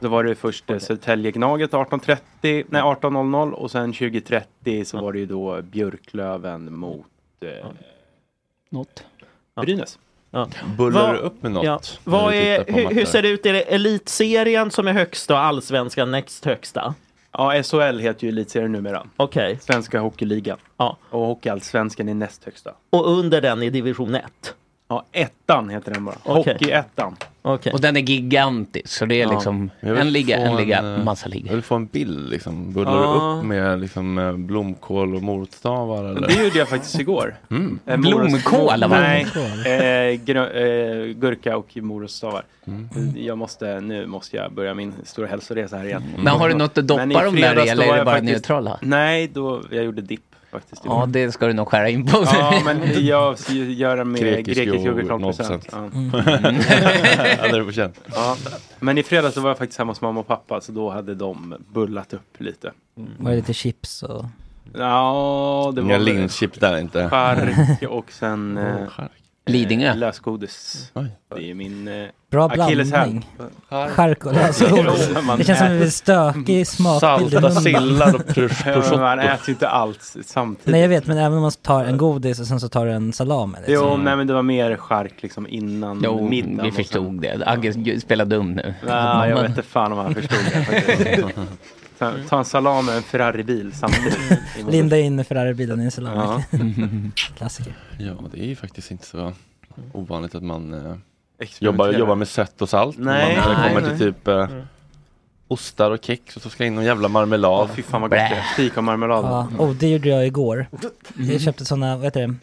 [SPEAKER 6] Då var det först okay. Södertälje-Gnaget 18.30, nej 18.00 och sen 20.30 så var det ju då Björklöven mot eh,
[SPEAKER 8] Något.
[SPEAKER 6] Brynäs.
[SPEAKER 1] Bullar
[SPEAKER 7] Vad-
[SPEAKER 1] du upp med något?
[SPEAKER 7] Ja.
[SPEAKER 1] när du
[SPEAKER 7] Vad är,
[SPEAKER 1] tittar på
[SPEAKER 7] hur, hur
[SPEAKER 1] matcher?
[SPEAKER 7] ser det ut? Är det elitserien som är högsta och allsvenskan näst högsta?
[SPEAKER 6] Ja, SHL heter ju elitserien numera.
[SPEAKER 7] Okej.
[SPEAKER 6] Svenska hockeyligan.
[SPEAKER 7] Ja.
[SPEAKER 6] Och Hockeyallsvenskan är näst högsta.
[SPEAKER 7] Och under den är division 1?
[SPEAKER 6] Ja, ettan heter den bara.
[SPEAKER 7] Okej.
[SPEAKER 6] Hockeyettan.
[SPEAKER 8] Och den är gigantisk, så det är
[SPEAKER 6] Ja.
[SPEAKER 8] liksom
[SPEAKER 1] Jag vill
[SPEAKER 8] en liga,
[SPEAKER 1] få
[SPEAKER 8] en liga,
[SPEAKER 1] eh,
[SPEAKER 8] massa ligor.
[SPEAKER 1] Jag vill få en bild liksom. Bullar
[SPEAKER 6] Ja.
[SPEAKER 1] du upp med liksom, eh, blomkål och morotstavar eller?
[SPEAKER 6] Det gjorde jag faktiskt igår.
[SPEAKER 1] Mm.
[SPEAKER 6] Eh, moros-
[SPEAKER 1] Blomkål, va?
[SPEAKER 6] Nej,
[SPEAKER 1] Blomkål.
[SPEAKER 6] eh, grö- eh, gurka och morotsstavar.
[SPEAKER 1] Mm.
[SPEAKER 6] Jag måste, nu måste jag börja min stora hälsoresa här igen.
[SPEAKER 8] Men har du något att doppa
[SPEAKER 6] Men i
[SPEAKER 8] dem där i,
[SPEAKER 6] fredags då
[SPEAKER 8] eller är
[SPEAKER 6] var
[SPEAKER 8] det
[SPEAKER 6] jag
[SPEAKER 8] bara
[SPEAKER 6] faktiskt- Mm.
[SPEAKER 8] neutrala?
[SPEAKER 6] Nej, då, jag gjorde dipp faktiskt.
[SPEAKER 8] Ja, det ska du nog skära in på.
[SPEAKER 6] Ja, men jag ska ju göra med
[SPEAKER 1] Grekisk yoghurt,
[SPEAKER 6] grekisk yoghurt 0%.
[SPEAKER 1] 0%.
[SPEAKER 6] Ja.
[SPEAKER 1] Mm. Hade du på känn.
[SPEAKER 6] Ja, men i fredags så var jag faktiskt hemma hos mamma och pappa så då hade de bullat upp lite.
[SPEAKER 2] Var det lite chips och...
[SPEAKER 6] Ja, det var...
[SPEAKER 1] Inga linschip där inte.
[SPEAKER 6] Chark och sen... eh,
[SPEAKER 8] Lidingö.
[SPEAKER 6] Lösgodis. Det är min eh,
[SPEAKER 2] Bra
[SPEAKER 6] akilleshäl.
[SPEAKER 2] blandning. Chark och lösgodis.
[SPEAKER 6] Jo, men
[SPEAKER 2] Det känns som en
[SPEAKER 6] äter-
[SPEAKER 2] stökig smakbild i
[SPEAKER 6] Salta
[SPEAKER 2] munnen.
[SPEAKER 6] sillar och pros-
[SPEAKER 2] Ja, men
[SPEAKER 6] prosciutto.
[SPEAKER 2] man
[SPEAKER 6] Man
[SPEAKER 2] äter
[SPEAKER 6] äter ju inte allt samtidigt.
[SPEAKER 2] Nej jag vet, men även om man tar en godis och sen så tar du en salami liksom.
[SPEAKER 6] Jo, nej men det var mer chark liksom innan
[SPEAKER 8] Jo,
[SPEAKER 6] middagen.
[SPEAKER 8] vi
[SPEAKER 6] och sen-
[SPEAKER 8] förstod det. Agge spelar dum nu.
[SPEAKER 6] Ja, jag
[SPEAKER 8] Men-
[SPEAKER 6] vet inte fan om han förstod det. faktiskt. Ta, ta en salami och en Ferrari-bil samtidigt.
[SPEAKER 2] Linda in Ferrari-bilen i en salami.
[SPEAKER 1] Ja.
[SPEAKER 2] Klassiker.
[SPEAKER 1] Ja, det är ju faktiskt inte så ovanligt att man eh,
[SPEAKER 6] Experimentera.
[SPEAKER 1] jobbar, jobbar med sött och salt.
[SPEAKER 6] Nej.
[SPEAKER 1] Man
[SPEAKER 6] Nej,
[SPEAKER 1] kommer
[SPEAKER 6] nej.
[SPEAKER 1] till typ eh, ostar och kex och så ska jag in någon jävla marmelad.
[SPEAKER 6] Fy fan vad gott det är. Fikonmarmelad.
[SPEAKER 2] Ja, och det gjorde jag igår.
[SPEAKER 6] Mm.
[SPEAKER 2] Jag köpte sådana, vad heter det?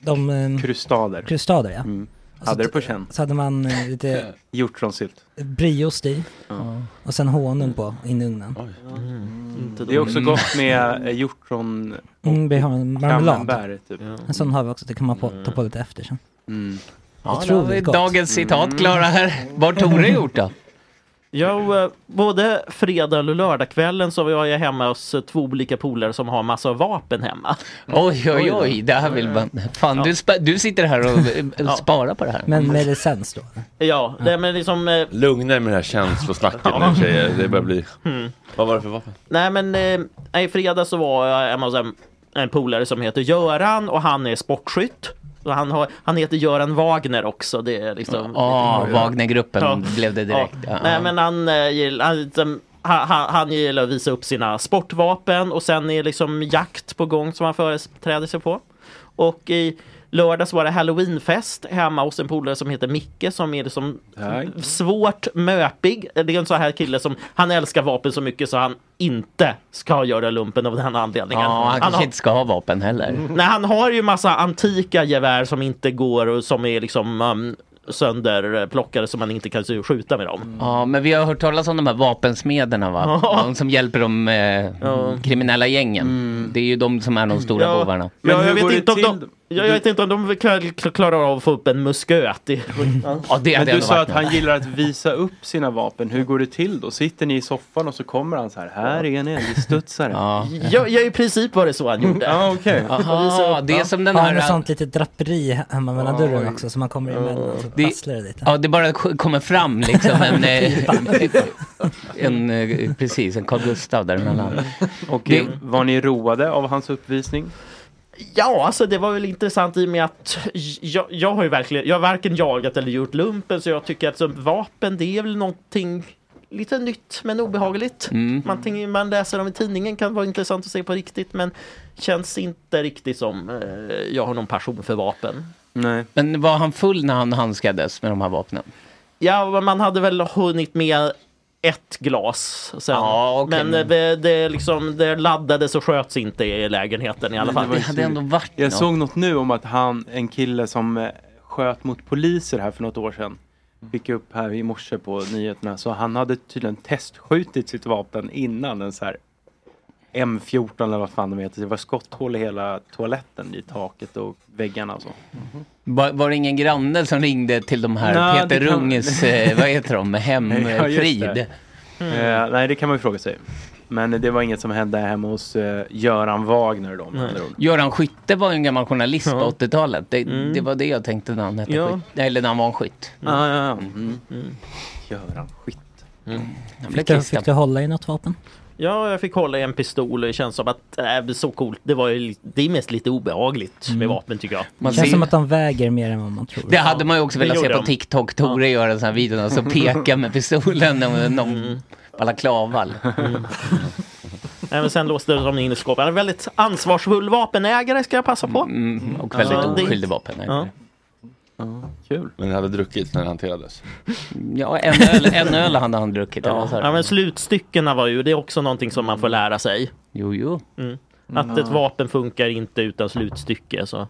[SPEAKER 2] De... ehm,
[SPEAKER 6] Krustader.
[SPEAKER 2] Krustader ja.
[SPEAKER 6] Mm.
[SPEAKER 2] Och så
[SPEAKER 6] Hade det
[SPEAKER 2] t-
[SPEAKER 6] på känn.
[SPEAKER 2] Så hade man eh, lite
[SPEAKER 6] Hjortronsylt.
[SPEAKER 2] brieost i. Och sen honung på, in i ugnen.
[SPEAKER 7] Mm.
[SPEAKER 6] Det är också gott med eh, hjortron och
[SPEAKER 2] Mm, vi har en marmelad.
[SPEAKER 6] camembert, typ.
[SPEAKER 2] En sån har vi också, det kan man på, ta på lite efter sen.
[SPEAKER 6] Mm.
[SPEAKER 8] Ja, då har
[SPEAKER 2] Otroligt
[SPEAKER 8] vi
[SPEAKER 2] gott.
[SPEAKER 8] dagens citat klara här. Vad har Tore gjort då?
[SPEAKER 7] Ja, eh, både fredag och lördagskvällen så var jag hemma hos eh, två olika polare som har massa vapen hemma.
[SPEAKER 8] Oj, oj, oj, det här vill man... Fan, du, spa, du sitter här och eh,
[SPEAKER 7] Ja.
[SPEAKER 8] sparar på det här.
[SPEAKER 2] Men med licens då?
[SPEAKER 7] Ja, det, men liksom... eh,
[SPEAKER 1] Lugna er med det här känslosnacket nu tjejer, det börjar bli...
[SPEAKER 7] Mm.
[SPEAKER 1] Vad var det för vapen?
[SPEAKER 7] Nej men eh, nej, i fredag så var jag hemma hos en, en polare som heter Göran och han är sportskytt. Och han, har, han heter Göran Wagner också. Det är liksom...
[SPEAKER 8] Ja,
[SPEAKER 7] Ja.
[SPEAKER 8] Wagnergruppen
[SPEAKER 7] Ja.
[SPEAKER 8] blev det direkt.
[SPEAKER 7] Ja.
[SPEAKER 8] Ja.
[SPEAKER 7] Nej men han, eh, gill- han, liksom- han, han, han gillar att visa upp sina sportvapen och sen är liksom jakt på gång som han företräder sig på. Och i lördags var det halloweenfest hemma hos en polare som heter Micke som är liksom
[SPEAKER 6] Tack.
[SPEAKER 7] svårt möpig. Det är en sån här kille som, han älskar vapen så mycket så han inte ska göra lumpen av den anledningen.
[SPEAKER 8] Ja, han kanske
[SPEAKER 7] har-
[SPEAKER 8] inte ska ha vapen heller.
[SPEAKER 7] Nej, han har ju massa antika gevär som inte går och som är liksom um, sönderplockade eh, så man inte kan skjuta med dem.
[SPEAKER 8] Ja, men vi har hört talas om de här vapensmederna va?
[SPEAKER 7] Ja.
[SPEAKER 8] De som hjälper de eh, kriminella gängen. Det är ju de som är de stora
[SPEAKER 7] Ja.
[SPEAKER 8] bovarna.
[SPEAKER 7] Men jag, vet inte om de, jag, jag vet inte om de klar- klar- klarar av att få upp en musköt. i-
[SPEAKER 8] Ja, det
[SPEAKER 6] Men
[SPEAKER 8] hade
[SPEAKER 6] du
[SPEAKER 8] ändå
[SPEAKER 6] sa
[SPEAKER 8] varit
[SPEAKER 6] att han
[SPEAKER 8] något.
[SPEAKER 6] gillar att visa upp sina vapen. Hur går det till då? Sitter ni i soffan och så kommer han så här. Här är en elgistudsare.
[SPEAKER 8] Ja.
[SPEAKER 7] Ja, ja, i princip var det så han gjorde.
[SPEAKER 6] Ja, okej.
[SPEAKER 8] Jaha, det är som den
[SPEAKER 2] ja,
[SPEAKER 8] här-
[SPEAKER 2] med sånt litet draperi hemma mellan
[SPEAKER 8] Oj.
[SPEAKER 2] dörren också, så man kommer emellan och så
[SPEAKER 8] Det-
[SPEAKER 2] prasslar det lite.
[SPEAKER 8] Ja, det bara k- kommer fram liksom en... eh, en eh, precis, en Carl Gustaf däremellan.
[SPEAKER 6] Och
[SPEAKER 8] Det-
[SPEAKER 6] var ni roade av hans uppvisning?
[SPEAKER 7] Ja, alltså det var väl intressant i och med att jag, jag har ju verkligen, jag har varken jagat eller gjort lumpen så jag tycker att som vapen det är väl någonting lite nytt men obehagligt.
[SPEAKER 8] Mm.
[SPEAKER 7] Man, tänker- man läser om i tidningen kan vara intressant att se på riktigt men känns inte riktigt som eh, jag har någon passion för vapen.
[SPEAKER 6] Nej.
[SPEAKER 8] Men var han full när han handskades med de här vapnen?
[SPEAKER 7] Ja, men man hade väl hunnit med ett glas sen.
[SPEAKER 8] okej,
[SPEAKER 7] men eh, det, det, liksom, det laddades och sköts inte i lägenheten i alla fall.
[SPEAKER 6] Jag såg något nu om att han, en kille som eh, sköt mot poliser här för något år sedan. Fick jag upp här i morse på nyheterna. Så han hade tydligen testskjutit sitt vapen innan en så här M14 eller vad fan de heter. Det var skotthål i hela toaletten i taket och väggarna och så.
[SPEAKER 8] Mm-hmm. Var, var det ingen granne som ringde till de här
[SPEAKER 6] Nej,
[SPEAKER 8] Peter
[SPEAKER 6] det kan-
[SPEAKER 8] Runges, eh, vad heter de,
[SPEAKER 6] Ja, just
[SPEAKER 8] Hemfrid? Mm.
[SPEAKER 6] det. Eh, nej, det kan man ju fråga sig. Men det var inget som hände hemma hos eh, Göran Wagner då. med andra ord.
[SPEAKER 8] Göran Skytte var ju en gammal journalist
[SPEAKER 6] Ja.
[SPEAKER 8] på 80-talet. Det,
[SPEAKER 6] Mm.
[SPEAKER 8] det var det jag tänkte när han hette
[SPEAKER 6] Ja.
[SPEAKER 8] Skytte. Eller när han var en skytt.
[SPEAKER 6] Ah, ja, ja. Mm. Göran Skytte.
[SPEAKER 8] Han blev
[SPEAKER 2] Fick du,
[SPEAKER 8] kristen.
[SPEAKER 2] fick du hålla i något vapen?
[SPEAKER 7] Ja, jag fick hålla i en pistol och det känns som att äh, det är så coolt. Det var ju li- det är mest lite obehagligt med
[SPEAKER 8] Mm.
[SPEAKER 7] vapen tycker jag.
[SPEAKER 2] det känns som att de väger mer än vad man tror.
[SPEAKER 8] Det hade man ju också
[SPEAKER 7] det
[SPEAKER 8] velat se
[SPEAKER 7] gjorde
[SPEAKER 8] på
[SPEAKER 7] de.
[SPEAKER 8] TikTok. Tore gör en sån här video när han så pekar med pistolen och någon balaklava.
[SPEAKER 7] Nej, men sen låste de in i skåpet. En väldigt ansvarsfull vapenägare ska jag passa på.
[SPEAKER 8] Och Mm, väldigt
[SPEAKER 7] Ja.
[SPEAKER 8] oskyldig vapen.
[SPEAKER 7] Ja.
[SPEAKER 6] Kul.
[SPEAKER 1] Men det hade druckit när det hanterades.
[SPEAKER 8] Ja, en öl, en öl hade han druckit. eller
[SPEAKER 7] Ja.
[SPEAKER 8] vad sa du?
[SPEAKER 7] ja, men slutstyckena var ju, det är också någonting som man får lära sig.
[SPEAKER 8] Jo, jo.
[SPEAKER 7] Mm. Att ett vapen funkar inte utan slutstycke. Så.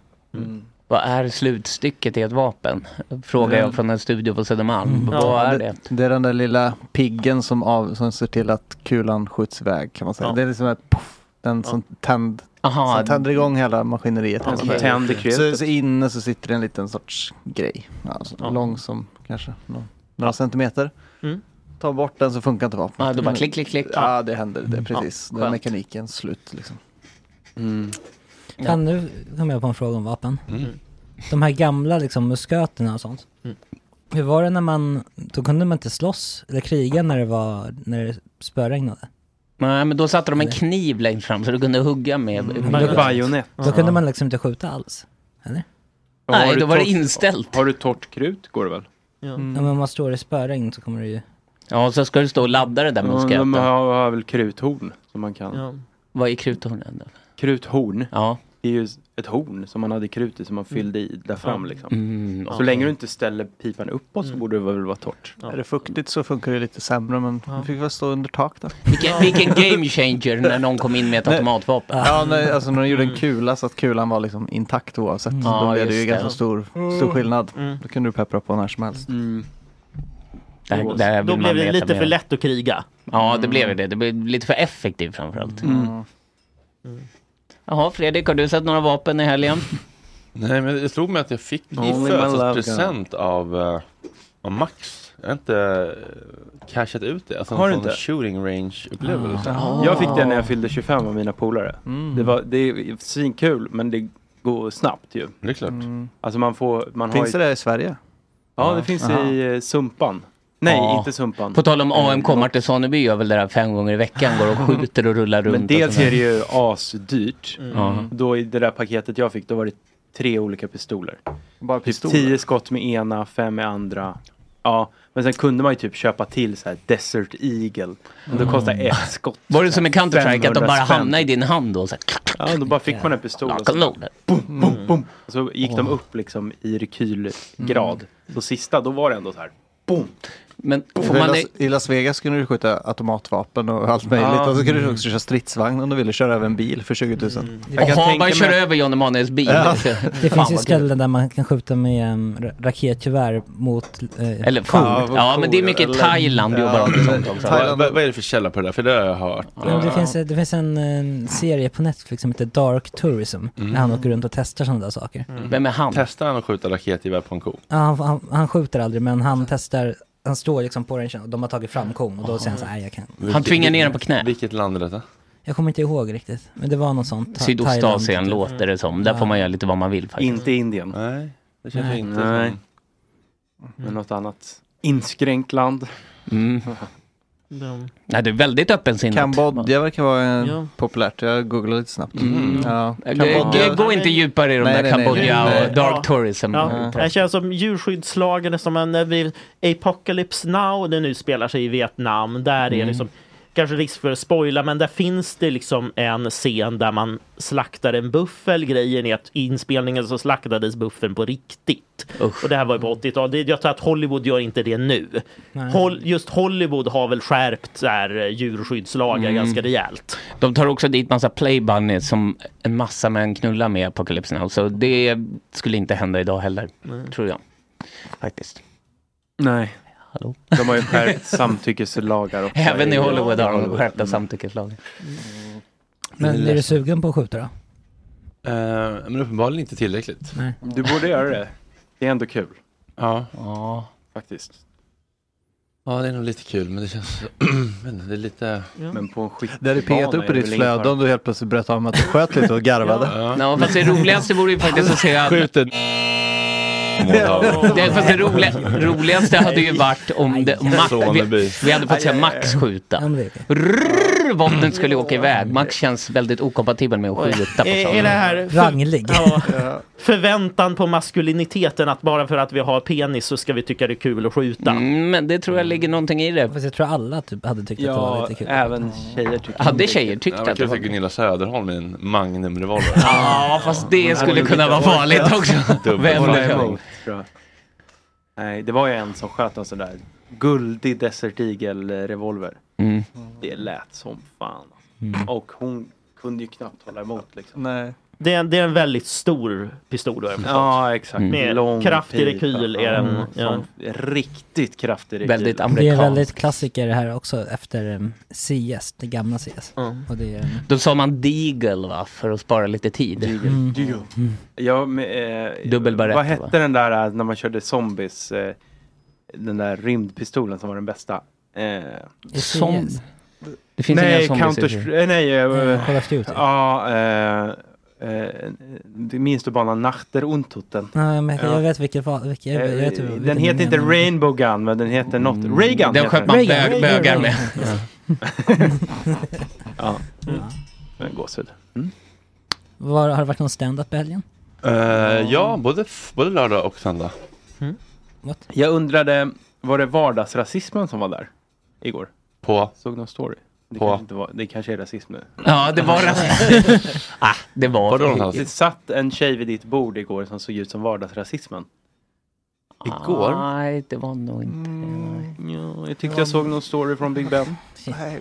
[SPEAKER 8] Vad är slutstycket i ett vapen? Frågar jag från en studio på Södermalm. Vad är det?
[SPEAKER 9] det är den där lilla piggen som, av, som ser till att kulan skjuts iväg kan man säga.
[SPEAKER 8] Ja.
[SPEAKER 9] Det är liksom ett puff, den som, tänd,
[SPEAKER 8] Aha.
[SPEAKER 9] som tänder igång hela maskineriet. kan man
[SPEAKER 6] som
[SPEAKER 9] säga.
[SPEAKER 6] tänder
[SPEAKER 9] så,
[SPEAKER 6] Alltså, krutet.
[SPEAKER 9] så inne så sitter det en liten sorts grej. Alltså, Lång som kanske någon, några centimeter.
[SPEAKER 7] Mm.
[SPEAKER 9] Ta bort den så funkar inte vapnet.
[SPEAKER 8] Ja, då bara
[SPEAKER 9] Men-
[SPEAKER 8] klick, klick, klick.
[SPEAKER 9] Ja, det händer.
[SPEAKER 7] Mm.
[SPEAKER 9] Det, är precis.
[SPEAKER 8] Ja,
[SPEAKER 9] det är
[SPEAKER 8] skönt.
[SPEAKER 9] mekanikens slut liksom.
[SPEAKER 2] Fan, nu kom jag på en fråga om vapen.
[SPEAKER 9] Mm.
[SPEAKER 2] De här gamla liksom musköterna och sånt.
[SPEAKER 7] Mm.
[SPEAKER 2] Hur var det när man, då kunde man inte slåss eller kriga när det var, när det spöregnade?
[SPEAKER 8] Nej, men då satte de en kniv längst fram så du kunde hugga med.
[SPEAKER 7] Mm.
[SPEAKER 2] Då- Då kunde man liksom inte skjuta alls, eller?
[SPEAKER 6] Och har
[SPEAKER 8] Nej,
[SPEAKER 6] du
[SPEAKER 8] då var det
[SPEAKER 6] torrt-
[SPEAKER 8] inställt.
[SPEAKER 6] Har du torrt krut går det väl?
[SPEAKER 7] Ja.
[SPEAKER 9] Mm.
[SPEAKER 2] Ja, men om man står i spöregn så kommer det ju...
[SPEAKER 8] Ja, så ska du stå och ladda det där
[SPEAKER 6] Ja,
[SPEAKER 8] musköten.
[SPEAKER 6] De har, har väl kruthorn som man kan.
[SPEAKER 8] Vad är kruthornen då?
[SPEAKER 6] Kruthorn.
[SPEAKER 8] Ja.
[SPEAKER 6] Det är ju ett horn som man hade krut i som man fyllde i där fram
[SPEAKER 9] Ja.
[SPEAKER 6] liksom.
[SPEAKER 9] Mm,
[SPEAKER 6] så
[SPEAKER 9] okej.
[SPEAKER 6] länge du inte ställer pipan uppåt
[SPEAKER 8] Mm.
[SPEAKER 6] så borde det väl vara torrt.
[SPEAKER 9] Är det fuktigt så funkar det lite sämre men det fick väl stå under tak då.
[SPEAKER 8] Vilken, vilken game changer när någon kom in med ett
[SPEAKER 9] Nej.
[SPEAKER 8] automatvapen.
[SPEAKER 9] Ja, nej, alltså när de gjorde en
[SPEAKER 6] Mm.
[SPEAKER 9] kula så att kulan var liksom intakt oavsett.
[SPEAKER 8] Mm.
[SPEAKER 9] Då
[SPEAKER 8] Ja,
[SPEAKER 9] blev det
[SPEAKER 8] just
[SPEAKER 9] ju
[SPEAKER 8] det.
[SPEAKER 9] ganska stor, stor skillnad. Då kunde du peppra på när som helst.
[SPEAKER 8] Där- där vill
[SPEAKER 7] Då
[SPEAKER 8] man
[SPEAKER 7] blev det
[SPEAKER 8] veta
[SPEAKER 7] lite
[SPEAKER 8] mer.
[SPEAKER 7] för lätt att kriga.
[SPEAKER 8] Ja, det blev det. Det blev lite för effektivt framförallt.
[SPEAKER 7] Mm.
[SPEAKER 8] Jaha, Fredrik, har du sett några vapen i helgen?
[SPEAKER 1] Nej, men det slog mig att jag fick i
[SPEAKER 8] Only my love
[SPEAKER 1] födelsedagspresent av eh, Ja, max. Jag har inte eh, cashat ut det. Alltså,
[SPEAKER 6] Har
[SPEAKER 1] en
[SPEAKER 6] du
[SPEAKER 1] sån
[SPEAKER 6] inte?
[SPEAKER 1] Shooting range upplevelse.
[SPEAKER 6] Ah. Jag fick det när jag fyllde 25 av mina polare.
[SPEAKER 1] Mm.
[SPEAKER 6] Det, var, det är svinkul men det går snabbt ju.
[SPEAKER 1] Det är klart.
[SPEAKER 6] Alltså man får, man
[SPEAKER 9] Finns
[SPEAKER 6] har
[SPEAKER 9] det där i Sverige?
[SPEAKER 6] Ja,
[SPEAKER 8] Ja.
[SPEAKER 6] det finns
[SPEAKER 8] Aha.
[SPEAKER 6] i eh, Sumpan. Nej,
[SPEAKER 8] Ja.
[SPEAKER 6] inte Sumpan.
[SPEAKER 8] På tal om AMK, Martin Sonneby gör väl det där fem gånger i veckan, går och skjuter och rullar runt.
[SPEAKER 6] Men
[SPEAKER 8] och
[SPEAKER 6] dels
[SPEAKER 8] sådär.
[SPEAKER 6] är det ju asdyrt.
[SPEAKER 8] Mm. Ja.
[SPEAKER 6] Då i det där paketet jag fick, då var det tre olika pistoler.
[SPEAKER 9] Bara
[SPEAKER 6] pistoler? Typ tio skott med ena, fem med andra. Ja, men sen kunde man ju typ köpa till så här Desert Eagle. Men då kostar
[SPEAKER 8] Mm.
[SPEAKER 6] ett skott.
[SPEAKER 8] Var det som i Counter-Strike, att de
[SPEAKER 6] 500
[SPEAKER 8] bara
[SPEAKER 6] spänn.
[SPEAKER 8] hamnade i din hand då? Så här,
[SPEAKER 6] Ja, då bara fick man en pistol och så,
[SPEAKER 8] Kanon.
[SPEAKER 6] boom, boom, boom. Och så gick de
[SPEAKER 8] Åh. Mm.
[SPEAKER 6] upp liksom i rekylgrad. Så sista, då var det ändå så här, boom.
[SPEAKER 8] Men
[SPEAKER 6] får man-
[SPEAKER 9] I, Las, I Las Vegas kunde du skjuta automatvapen och allt möjligt.
[SPEAKER 6] Ja.
[SPEAKER 9] Och så kunde
[SPEAKER 8] Mm.
[SPEAKER 9] du också köra stridsvagn om du ville köra över en bil för 20 000.
[SPEAKER 8] Jag kan Jaha, tänka bara kör mig- över John Emanuels bil.
[SPEAKER 9] Ja.
[SPEAKER 8] Det
[SPEAKER 9] Fan,
[SPEAKER 2] Det finns ju
[SPEAKER 9] vad
[SPEAKER 2] ställen där man kan skjuta med um, raketgevär mot... eh,
[SPEAKER 8] Eller
[SPEAKER 2] kor.
[SPEAKER 1] Vad, vad, vad är det för källa på det där? För det har jag hört.
[SPEAKER 2] Ja, det, finns, det finns en, eh, serie på Netflix som heter Dark Tourism,
[SPEAKER 1] Mm.
[SPEAKER 2] där han åker runt och testar sådana där saker.
[SPEAKER 9] Mm.
[SPEAKER 8] Vem är han?
[SPEAKER 1] Testar han att skjuta raketgevär på en ko?
[SPEAKER 2] Ja, han, han, han skjuter aldrig, men han testar, han står liksom på rangen och de har tagit fram kon och då säger han så här, "Nej, jag kan.
[SPEAKER 1] Vilket-
[SPEAKER 8] tvingar ner den på knä.
[SPEAKER 1] Vilket land är detta?
[SPEAKER 2] Jag kommer inte ihåg riktigt, men det var något sånt. Ta-
[SPEAKER 8] Sydostasien
[SPEAKER 2] Thailand.
[SPEAKER 8] låter det som. Där
[SPEAKER 2] Ja.
[SPEAKER 8] får man göra lite vad man vill faktiskt.
[SPEAKER 6] Inte Indien.
[SPEAKER 1] Nej, det
[SPEAKER 8] känns Nej. inte
[SPEAKER 6] Nej.
[SPEAKER 8] som-
[SPEAKER 6] Men något annat inskränkt land.
[SPEAKER 8] Mm. Nej, det är väldigt öppensinnigt.
[SPEAKER 9] Kambodja verkar vara eh,
[SPEAKER 8] Ja.
[SPEAKER 9] populärt. Jag googlade lite snabbt.
[SPEAKER 8] Mm.
[SPEAKER 9] Ja.
[SPEAKER 8] G- g- Gå inte djupare i de
[SPEAKER 9] Nej,
[SPEAKER 8] där
[SPEAKER 9] nej, nej.
[SPEAKER 8] Kambodja
[SPEAKER 9] Nej.
[SPEAKER 8] och dark tourism.
[SPEAKER 7] Ja, det känns som djurskyddslagen, är som en eh, vi- Apocalypse Now, det nu spelar sig i Vietnam, där är
[SPEAKER 8] Mm.
[SPEAKER 7] liksom Kanske risk för att spoila, men där finns det liksom en scen där man slaktar en buffel. Grejen är att i inspelningen så slaktades buffeln på riktigt. Och det här var ju på 80-talet. Det- Jag tror att Hollywood gör inte det nu.
[SPEAKER 8] Mm. Nej.
[SPEAKER 7] Hol- just Hollywood har väl skärpt så här, eh, djurskyddslagar
[SPEAKER 8] Mm.
[SPEAKER 7] ganska rejält.
[SPEAKER 8] De tar också dit massa playbunnies som en massa män knullar med i Apocalypse Now. Så det skulle inte hända idag heller, tror jag. Faktiskt.
[SPEAKER 6] Nej.
[SPEAKER 8] Hallå?
[SPEAKER 6] De har ju skärpt samtyckeslagar också.
[SPEAKER 8] Även i Hollywood har de skärpta samtyckeslagar.
[SPEAKER 2] Men
[SPEAKER 1] Det är
[SPEAKER 2] är du
[SPEAKER 1] läskigt.
[SPEAKER 2] sugen på att skjuta då?
[SPEAKER 1] Eh, men uppenbarligen inte tillräckligt.
[SPEAKER 2] Nej.
[SPEAKER 6] Mm. Du borde göra det. Det är ändå kul.
[SPEAKER 1] Ja.
[SPEAKER 8] ja.
[SPEAKER 6] Faktiskt.
[SPEAKER 1] Ja, det är nog lite kul, men det känns... men det är lite...
[SPEAKER 6] Men på en skit...
[SPEAKER 9] Det hade petat upp i ditt flöde om du helt plötsligt berättade om att du sköt lite och garvade.
[SPEAKER 8] Ja. Ja, fast Alltså, det roligaste vore ju faktiskt att se att...
[SPEAKER 1] Skjuten.
[SPEAKER 8] Det, fast det roliga, roligaste hade ju varit om det, om Max, vi,
[SPEAKER 1] Soneby.
[SPEAKER 8] vi hade fått se
[SPEAKER 1] Aj, aj,
[SPEAKER 8] Max skjuta. Rrrr, vapnet skulle åka iväg. Max känns väldigt okompatibel med att skjuta på
[SPEAKER 7] Är-
[SPEAKER 8] sådana.
[SPEAKER 7] Är det här för- Ja. Förväntan på maskuliniteten att bara för att vi har penis så ska vi tycka det är kul att skjuta.
[SPEAKER 8] Men det tror jag ligger någonting i det.
[SPEAKER 2] Fast jag tror alla typ hade tyckt
[SPEAKER 6] Ja, eh, även tjejer tyckte
[SPEAKER 8] Hade tjejer tyckt
[SPEAKER 1] ja,
[SPEAKER 8] att
[SPEAKER 1] att
[SPEAKER 8] det
[SPEAKER 1] det
[SPEAKER 8] var
[SPEAKER 1] var
[SPEAKER 8] kul?
[SPEAKER 1] Gunilla Söderholm i en Magnum-revolver.
[SPEAKER 8] Ja, fast det
[SPEAKER 6] Hon hade
[SPEAKER 8] skulle
[SPEAKER 6] nog
[SPEAKER 8] kunna
[SPEAKER 6] inte
[SPEAKER 8] vara
[SPEAKER 6] orkat.
[SPEAKER 8] farligt också.
[SPEAKER 6] Mm. Dubbel-
[SPEAKER 8] Vem
[SPEAKER 6] Hålla
[SPEAKER 8] vet?
[SPEAKER 6] emot, tror jag. Nej, det var ju en som sköt en sån där guldig Desert Eagle-revolver.
[SPEAKER 8] Mm.
[SPEAKER 6] Det lät som fan.
[SPEAKER 8] Mm.
[SPEAKER 6] Och hon kunde ju knappt hålla emot liksom.
[SPEAKER 9] Nej.
[SPEAKER 7] Det är, en, det är en väldigt stor pistol. Då,
[SPEAKER 6] Ja, exakt.
[SPEAKER 8] Mm.
[SPEAKER 7] Med kraftig rekyl är den.
[SPEAKER 6] Mm,
[SPEAKER 7] Ja.
[SPEAKER 6] som Riktigt kraftig rekyl.
[SPEAKER 2] Det är väldigt klassiker det här också efter um, CS, det gamla CS.
[SPEAKER 6] Mm.
[SPEAKER 2] Och det är, um,
[SPEAKER 8] Då sa man Deagle va, för att spara lite tid.
[SPEAKER 2] Mm.
[SPEAKER 6] Deagle. Ja, men, eh,
[SPEAKER 8] Dubbel barrett,
[SPEAKER 6] Vad
[SPEAKER 8] va?
[SPEAKER 6] hette den där eh, när man körde zombies? Eh, den där rymdpistolen som var den bästa. Eh,
[SPEAKER 8] Som... Det finns
[SPEAKER 6] nej,
[SPEAKER 8] inga zombies i
[SPEAKER 6] Counter,
[SPEAKER 8] det.
[SPEAKER 6] eh, nej, eh,
[SPEAKER 2] Call of Duty.
[SPEAKER 6] Ja, eh, eh, det minns du banan Nachter Untoten?
[SPEAKER 2] ja, men jag,
[SPEAKER 6] Ja. Eh,
[SPEAKER 2] jag vet vilket var, vilket, jag, jag vet ju vilken
[SPEAKER 6] Den heter
[SPEAKER 2] du
[SPEAKER 6] inte
[SPEAKER 2] menar.
[SPEAKER 6] Rainbow Gun, men den heter något. Raygun
[SPEAKER 8] Den
[SPEAKER 6] heter
[SPEAKER 8] sköt
[SPEAKER 6] den.
[SPEAKER 8] man bög- bögar med.
[SPEAKER 6] ja. Mm. Gåshud.
[SPEAKER 2] Var, har det varit någon stand-up i helgen?
[SPEAKER 1] Eh, ja, både, både lördag och söndag.
[SPEAKER 6] Jag undrade, var det vardagsrasismen som var där igår?
[SPEAKER 1] På?
[SPEAKER 6] Såg någon story? Det,
[SPEAKER 1] På?
[SPEAKER 6] Kanske, inte var, det kanske är rasism nu.
[SPEAKER 8] Ja, det var rasism. ah, det var...
[SPEAKER 6] Det satt en tjej vid ditt bord igår som såg ut som vardagsrasismen. Igår?
[SPEAKER 8] Nej, det var nog inte... Mm.
[SPEAKER 6] Ja, jag tyckte jag såg någon story från Big Ben.
[SPEAKER 2] det, här,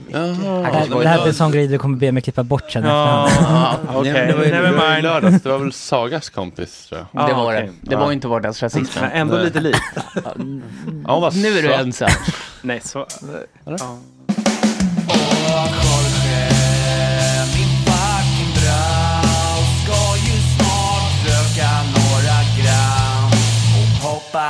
[SPEAKER 2] det här blir en sån grej du kommer be mig klippa bort sen efterhand.
[SPEAKER 6] okej.
[SPEAKER 1] Nej, men det var ju-
[SPEAKER 6] Never
[SPEAKER 1] det var ju
[SPEAKER 6] mind.
[SPEAKER 1] lördags. Det var väl Sagas kompis tror jag.
[SPEAKER 8] Det var det. Det var inte vardagsrasismen.
[SPEAKER 6] Men ändå lite likt.
[SPEAKER 1] Ja, hon var
[SPEAKER 8] Nu är du
[SPEAKER 1] svart.
[SPEAKER 8] ensam.
[SPEAKER 6] Nej, så... Ja.
[SPEAKER 4] Ska ju snart röka några gram och poppa